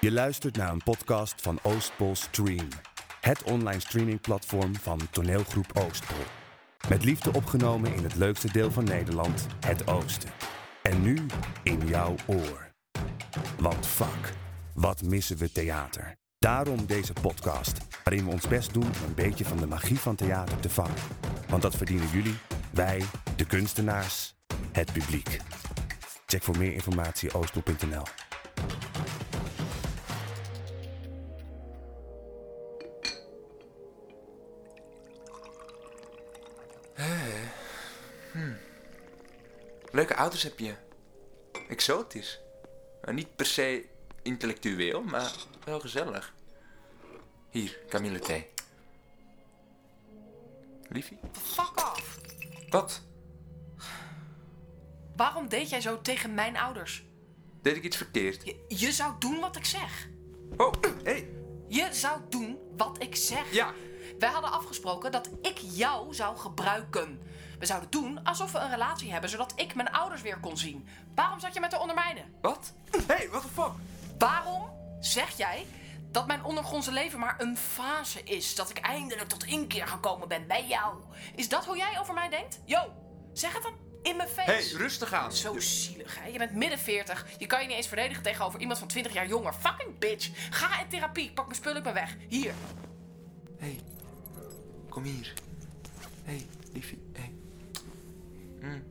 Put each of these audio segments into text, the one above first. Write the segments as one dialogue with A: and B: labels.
A: Je luistert naar een podcast van Oostpol Stream. Het online streamingplatform van toneelgroep Oostpol. Met liefde opgenomen in het leukste deel van Nederland, het Oosten. En nu in jouw oor. Want fuck, wat missen we theater. Daarom deze podcast, waarin we ons best doen om een beetje van de magie van theater te vangen. Want dat verdienen jullie, wij, de kunstenaars, het publiek. Check voor meer informatie oostpol.nl.
B: Leuke auto's heb je. Exotisch. Maar niet per se intellectueel, maar wel gezellig. Hier, Camille thee. Liefie?
C: Fuck off.
B: Wat?
C: Waarom deed jij zo tegen mijn ouders?
B: Deed ik iets verkeerd?
C: Je, je zou doen wat ik zeg.
B: Oh, hey.
C: Je zou doen wat ik zeg.
B: Ja.
C: Wij hadden afgesproken dat ik jou zou gebruiken. We zouden doen alsof we een relatie hebben, zodat ik mijn ouders weer kon zien. Waarom zat je met te ondermijnen?
B: Wat? Hey, what the fuck?
C: Waarom zeg jij dat mijn ondergrondse leven maar een fase is? Dat ik eindelijk tot inkeer gekomen ben bij jou. Is dat hoe jij over mij denkt? Yo, zeg het dan in mijn face.
B: Hey, rustig aan.
C: Zo zielig, hè? Je bent midden 40. Je kan je niet eens verdedigen tegenover iemand van 20 jaar jonger. Fucking bitch. Ga in therapie. Pak mijn spullen, ik ben weg. Hier.
B: Hey, kom hier. Hey, liefie. Hey. Mm.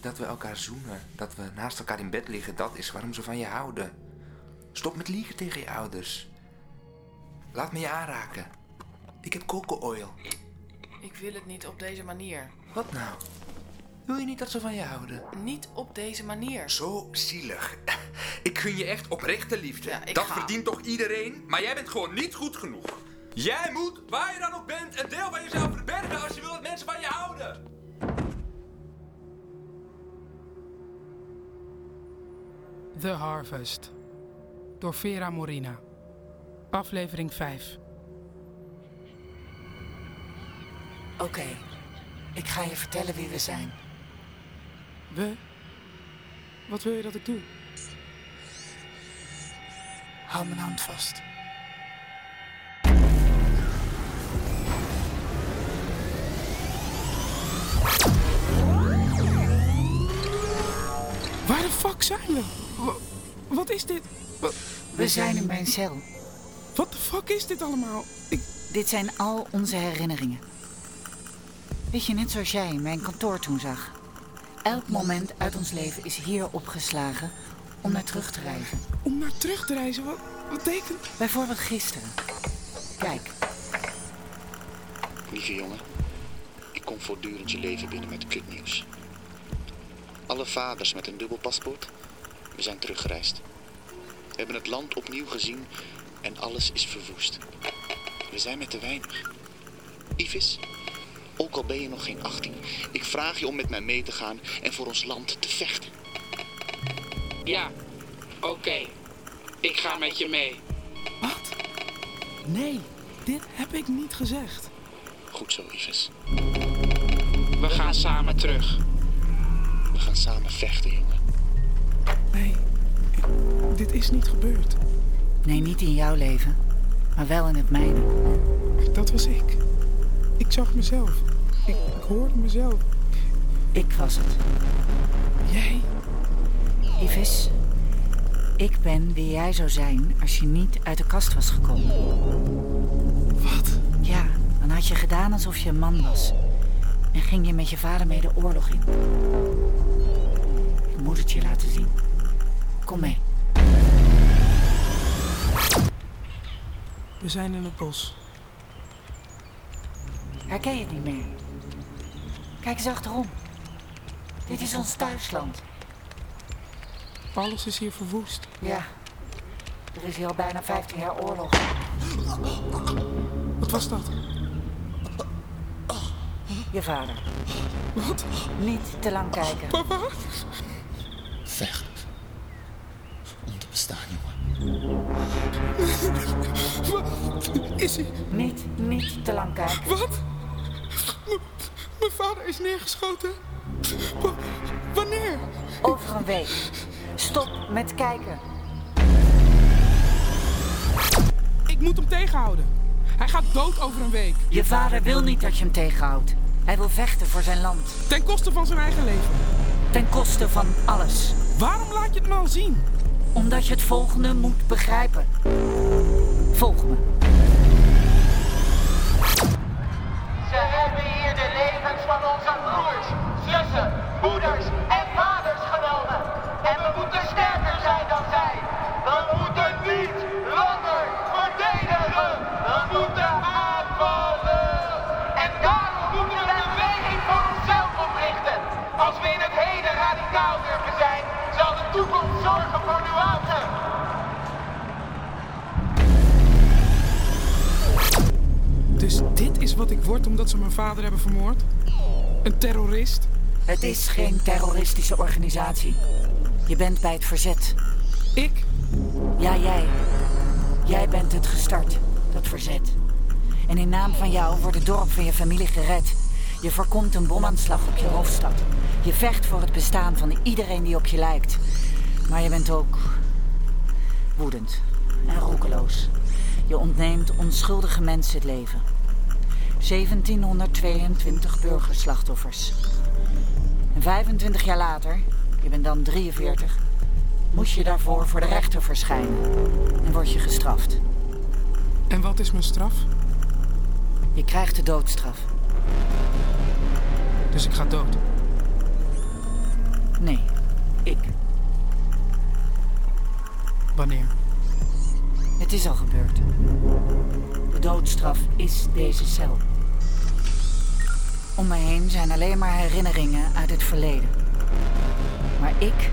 B: Dat we elkaar zoenen, dat we naast elkaar in bed liggen, dat is waarom ze van je houden. Stop met liegen tegen je ouders. Laat me je aanraken. Ik heb coco oil.
C: Ik wil het niet op deze manier.
B: Wat nou? Wil je niet dat ze van je houden?
C: Niet op deze manier.
B: Zo zielig. Ik gun je echt oprechte liefde.
C: Ja, ik
B: dat
C: ga.
B: verdient toch iedereen? Maar jij bent gewoon niet goed genoeg. Jij moet, waar je dan ook bent, een deel van jezelf verbergen als je wil dat mensen van je houden.
D: The Harvest door Vera Morina. Aflevering 5.
E: Oké, ik ga je vertellen wie we zijn.
D: We? Wat wil je dat ik doe?
E: Hou mijn hand vast.
D: Waar de fuck zijn we? Wa- wat is dit? Wa-
E: We zijn in mijn cel.
D: Wat de fuck is dit allemaal? Ik,
E: Dit zijn al onze herinneringen. Weet je, net zoals jij mijn kantoor toen zag. Elk moment uit ons leven is hier opgeslagen om naar terug te reizen.
D: om naar terug te reizen, wat, wat betekent...
E: Bijvoorbeeld gisteren. Kijk,
F: Lieve jongen, ik kom voortdurend je leven binnen met kutnieuws. Alle vaders met een dubbel paspoort, we zijn teruggereisd. We hebben het land opnieuw gezien en alles is verwoest. We zijn met te weinig. Ivis, ook al ben je nog geen 18, ik vraag je om met mij mee te gaan en voor ons land te vechten.
G: Ja, oké. Ik ga met je mee.
D: Wat? Nee, dit heb ik niet gezegd.
F: Goed zo, Ivis.
G: We gaan samen terug.
F: We gaan samen vechten, jongen.
D: Nee, ik- dit is niet gebeurd.
E: nee, niet in jouw leven, maar wel in het mijne.
D: Dat was ik. Ik zag mezelf. Ik, ik hoorde mezelf.
E: Ik was het.
D: Jij?
E: Ivis, ik ben wie jij zou zijn als je niet uit de kast was gekomen.
D: Wat?
E: Ja, dan had je gedaan alsof je een man was. En ging je met je vader mee de oorlog in. Ik moet het je laten zien. Kom mee.
D: We zijn in het bos.
E: Herken je het niet meer? Kijk eens achterom. Dit is ons thuisland.
D: Alles is hier verwoest.
E: Ja. Er is hier al bijna 15 jaar oorlog.
D: Wat was dat?
E: Je vader.
D: Wat?
E: Niet te lang kijken.
D: Papa?
F: Vechten. Om te bestaan, jongen.
D: Wat is hij?
E: Niet, niet te lang kijken.
D: Wat? M- Mijn vader is neergeschoten. W- wanneer?
E: Over een week. Stop met kijken.
D: Ik moet hem tegenhouden. Hij gaat dood over een week.
E: Je vader wil niet dat je hem tegenhoudt. Hij wil vechten voor zijn land.
D: Ten koste van zijn eigen leven.
E: Ten koste van alles.
D: Waarom laat je het me al zien?
E: Omdat je het volgende moet begrijpen. Volg me.
H: Ze hebben hier de levens van onze broers, zussen, moeders en vaders genomen. En we moeten sterker zijn dan zij. We moeten niet langer verdedigen. We moeten aanvallen. En daarom moeten we een beweging voor onszelf oprichten. Als we in het heden radicaal durven zijn, zal de toekomst zorgen voor nuance.
D: Dus dit is wat ik word omdat ze mijn vader hebben vermoord? Een terrorist?
E: Het is geen terroristische organisatie. Je bent bij het verzet.
D: Ik?
E: Ja, jij. Jij bent het gestart, dat verzet. En in naam van jou wordt het dorp van je familie gered. Je voorkomt een bomaanslag op je hoofdstad. Je vecht voor het bestaan van iedereen die op je lijkt. Maar je bent ook woedend en roekeloos. Je ontneemt onschuldige mensen het leven. 1722 burgerslachtoffers. En 25 jaar later, je bent dan 43, moest je daarvoor voor de rechter verschijnen en word je gestraft.
D: En wat is mijn straf?
E: Je krijgt de doodstraf.
D: Dus ik ga dood.
E: Nee, ik.
D: Wanneer?
E: Het is al gebeurd. De doodstraf is deze cel. Om me heen zijn alleen maar herinneringen uit het verleden. Maar ik.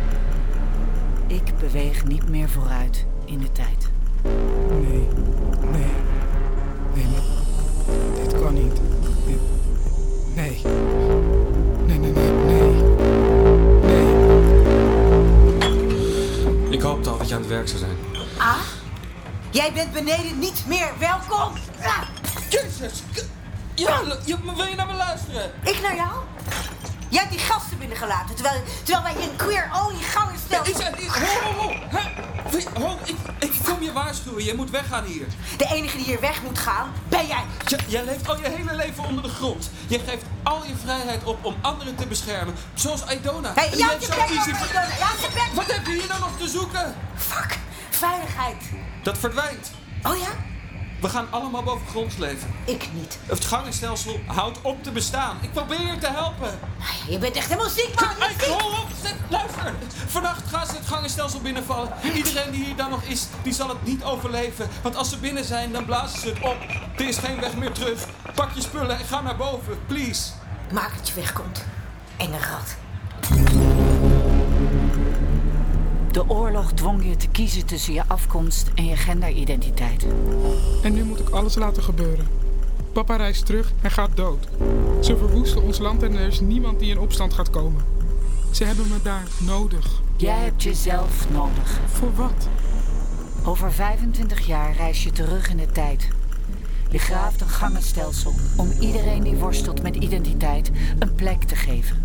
E: Ik beweeg niet meer vooruit in de tijd.
D: Nee. Nee. Nee, maar dit kan niet. Dit... Nee. Nee, nee, nee, nee. Nee.
I: Ik hoopte al dat je aan het werk zou zijn.
J: Jij bent beneden niet meer welkom. Ah,
G: Jezus! k- Ja, lu- je, wil je naar me luisteren?
J: ik naar jou? Jij hebt die gasten binnengelaten, terwijl, terwijl wij hier een queer
G: Ik
J: oliegangenstel...
G: zei, ik- ho, ho, ho! Hè? Wil je- ho, ik, ik kom je waarschuwen, je moet weggaan hier.
J: De enige die hier weg moet gaan, ben jij.
G: J- jij leeft al je hele leven onder de grond. Je geeft al je vrijheid op om anderen te beschermen. Zoals Aidona.
J: Hey,
G: Die
J: jou
G: heeft
J: je
G: zo
J: bek
G: easy-
J: over, Donna. Jou je bek.
G: Wat heb je hier dan nog te zoeken?
J: Fuck. Veiligheid.
G: Dat verdwijnt.
J: Oh ja?
G: We gaan allemaal boven grond leven.
J: Ik niet.
G: Het gangenstelsel houdt op te bestaan. Ik probeer je te helpen.
J: Je bent echt helemaal ziek, man. Je
G: Hey,
J: bent ziek.
G: hol op, zet, luister. Vannacht gaan ze het gangenstelsel binnenvallen. Iedereen die hier dan nog is, die zal het niet overleven. Want als ze binnen zijn, dan blazen ze het op. Er is geen weg meer terug. Pak je spullen en ga naar boven, please.
J: Maak dat je wegkomt. Enge rat.
E: De oorlog dwong je te kiezen tussen je afkomst en je genderidentiteit.
D: En nu moet ik alles laten gebeuren. Papa reist terug en gaat dood. Ze verwoesten ons land en er is niemand die in opstand gaat komen. Ze hebben me daar nodig.
E: Jij hebt jezelf nodig.
D: Voor wat?
E: Over 25 jaar reis je terug in de tijd. Je graaft een gangenstelsel om iedereen die worstelt met identiteit een plek te geven.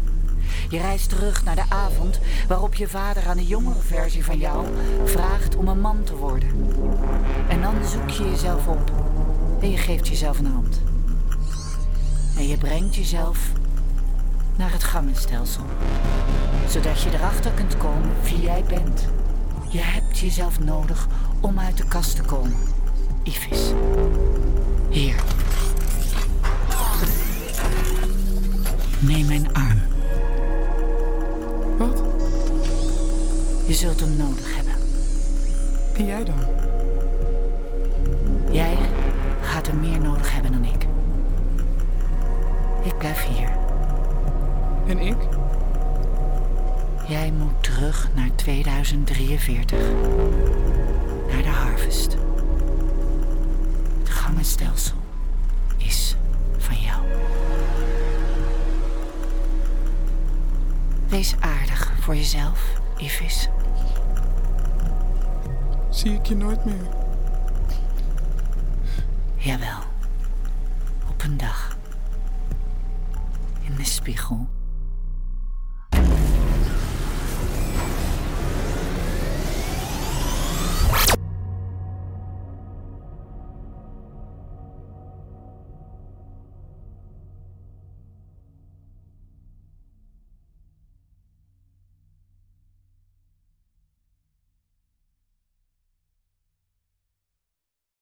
E: Je reist terug naar de avond waarop je vader aan de jongere versie van jou vraagt om een man te worden. En dan zoek je jezelf op en je geeft jezelf een hand. En je brengt jezelf naar het gangenstelsel, zodat je erachter kunt komen wie jij bent. Je hebt jezelf nodig om uit de kast te komen. Ivis. Hier. Neem mijn arm.
D: Wat?
E: Je zult hem nodig hebben.
D: En jij dan?
E: Jij gaat hem meer nodig hebben dan ik. Ik blijf hier.
D: En ik?
E: Jij moet terug naar 2043. Naar de harvest. Het gangenstelsel is van jou. Wees aardig voor jezelf, Ivis.
D: Zie ik je nooit meer.
E: Jawel. Op een dag. In de spiegel